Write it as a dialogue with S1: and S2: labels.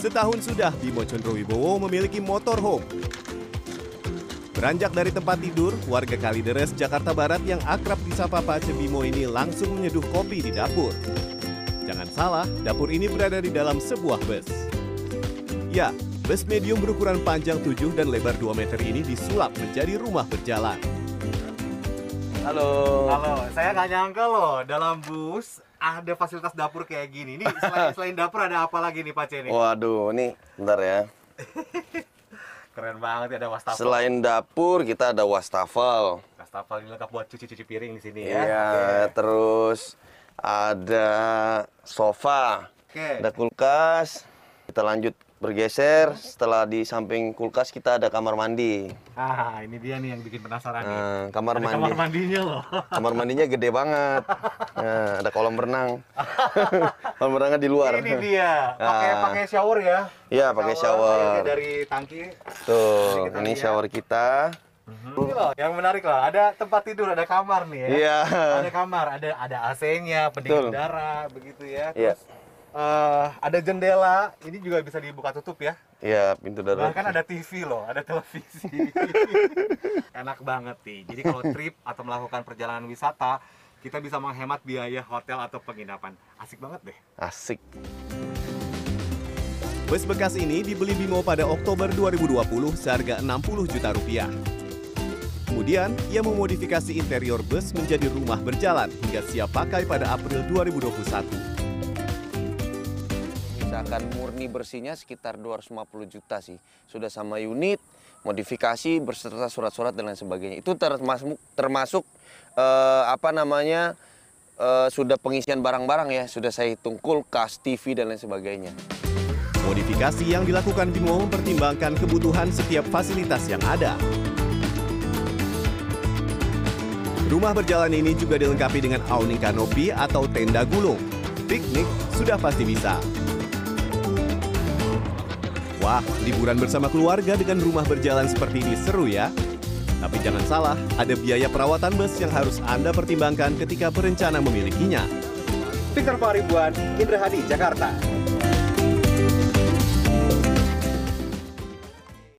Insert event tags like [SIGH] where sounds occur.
S1: Setahun sudah Bimo Condrowibowo memiliki motorhome. Beranjak dari tempat tidur, warga Kalideres, Jakarta Barat yang akrab disapa Pak Aceh Bimo ini langsung menyeduh kopi di dapur. Jangan salah, dapur ini berada di dalam sebuah bus. Ya, bus medium berukuran panjang 7 dan lebar 2 meter ini disulap menjadi rumah berjalan.
S2: Halo.
S3: Halo, saya nggak nyangka loh dalam bus ada fasilitas dapur kayak gini. Ini
S2: [LAUGHS]
S3: selain, selain dapur ada apa lagi nih Pak C
S2: Oh.
S3: nih?
S2: Waduh, ini bentar ya.
S3: Keren banget ya, ada wastafel.
S2: Selain dapur, kita ada wastafel.
S3: Wastafel ini lengkap buat cuci-cuci piring di sini
S2: Iya,
S3: ya.
S2: terus ada sofa,
S3: Oke.
S2: ada kulkas. Kita lanjut bergeser. Setelah di samping kulkas kita ada kamar mandi.
S3: Ah, ini dia nih yang bikin penasaran nih.
S2: Nah, kamar
S3: Ada
S2: mandi.
S3: kamar mandinya loh.
S2: Kamar mandinya gede banget. Nah, ada kolam
S3: [LAUGHS]
S2: renang. kolam renangnya di luar.
S3: Ini dia, pakai
S2: Ah.
S3: pakai shower ya.
S2: Iya, pakai
S3: airnya
S2: shower.
S3: dari tangki.
S2: Tuh,
S3: Sedikit
S2: ini
S3: lagi ya.
S2: shower kita.
S3: Ini loh, yang menarik loh, ada tempat tidur, ada kamar nih ya.
S2: Hmm. Iya.
S3: Ada kamar, ada ada AC-nya, pendingin
S2: Betul.
S3: udara, begitu ya.
S2: Iya.
S3: Terus eh, ada jendela, ini juga bisa dibuka tutup ya.
S2: Iya, pintu darat.
S3: Bahkan ada TV loh, ada televisi. Enak banget nih. Jadi kalau trip atau melakukan perjalanan wisata, kita bisa menghemat biaya hotel atau penginapan. Asik banget deh.
S2: Asik.
S1: Bus bekas ini dibeli Bimo pada Oktober 2020 seharga 60 juta rupiah. Kemudian, ia memodifikasi interior bus menjadi rumah berjalan hingga siap pakai pada April 2021.
S2: Misalkan murni bersihnya sekitar 250 juta sih. Sudah sama unit, modifikasi berserta surat-surat dan lain sebagainya. Itu termasuk termasuk eh, apa namanya? eh, sudah pengisian barang-barang ya, sudah saya hitung kulkas, TV dan lain sebagainya.
S1: Modifikasi yang dilakukan Bimo mempertimbangkan kebutuhan setiap fasilitas yang ada. Rumah berjalan ini juga dilengkapi dengan awning kanopi atau tenda gulung. Piknik sudah pasti bisa. Wah, liburan bersama keluarga dengan rumah berjalan seperti ini seru ya. Tapi jangan salah, ada biaya perawatan bus yang harus Anda pertimbangkan ketika berencana memilikinya.
S3: Victor Paribuan, Indra Hadi, Jakarta.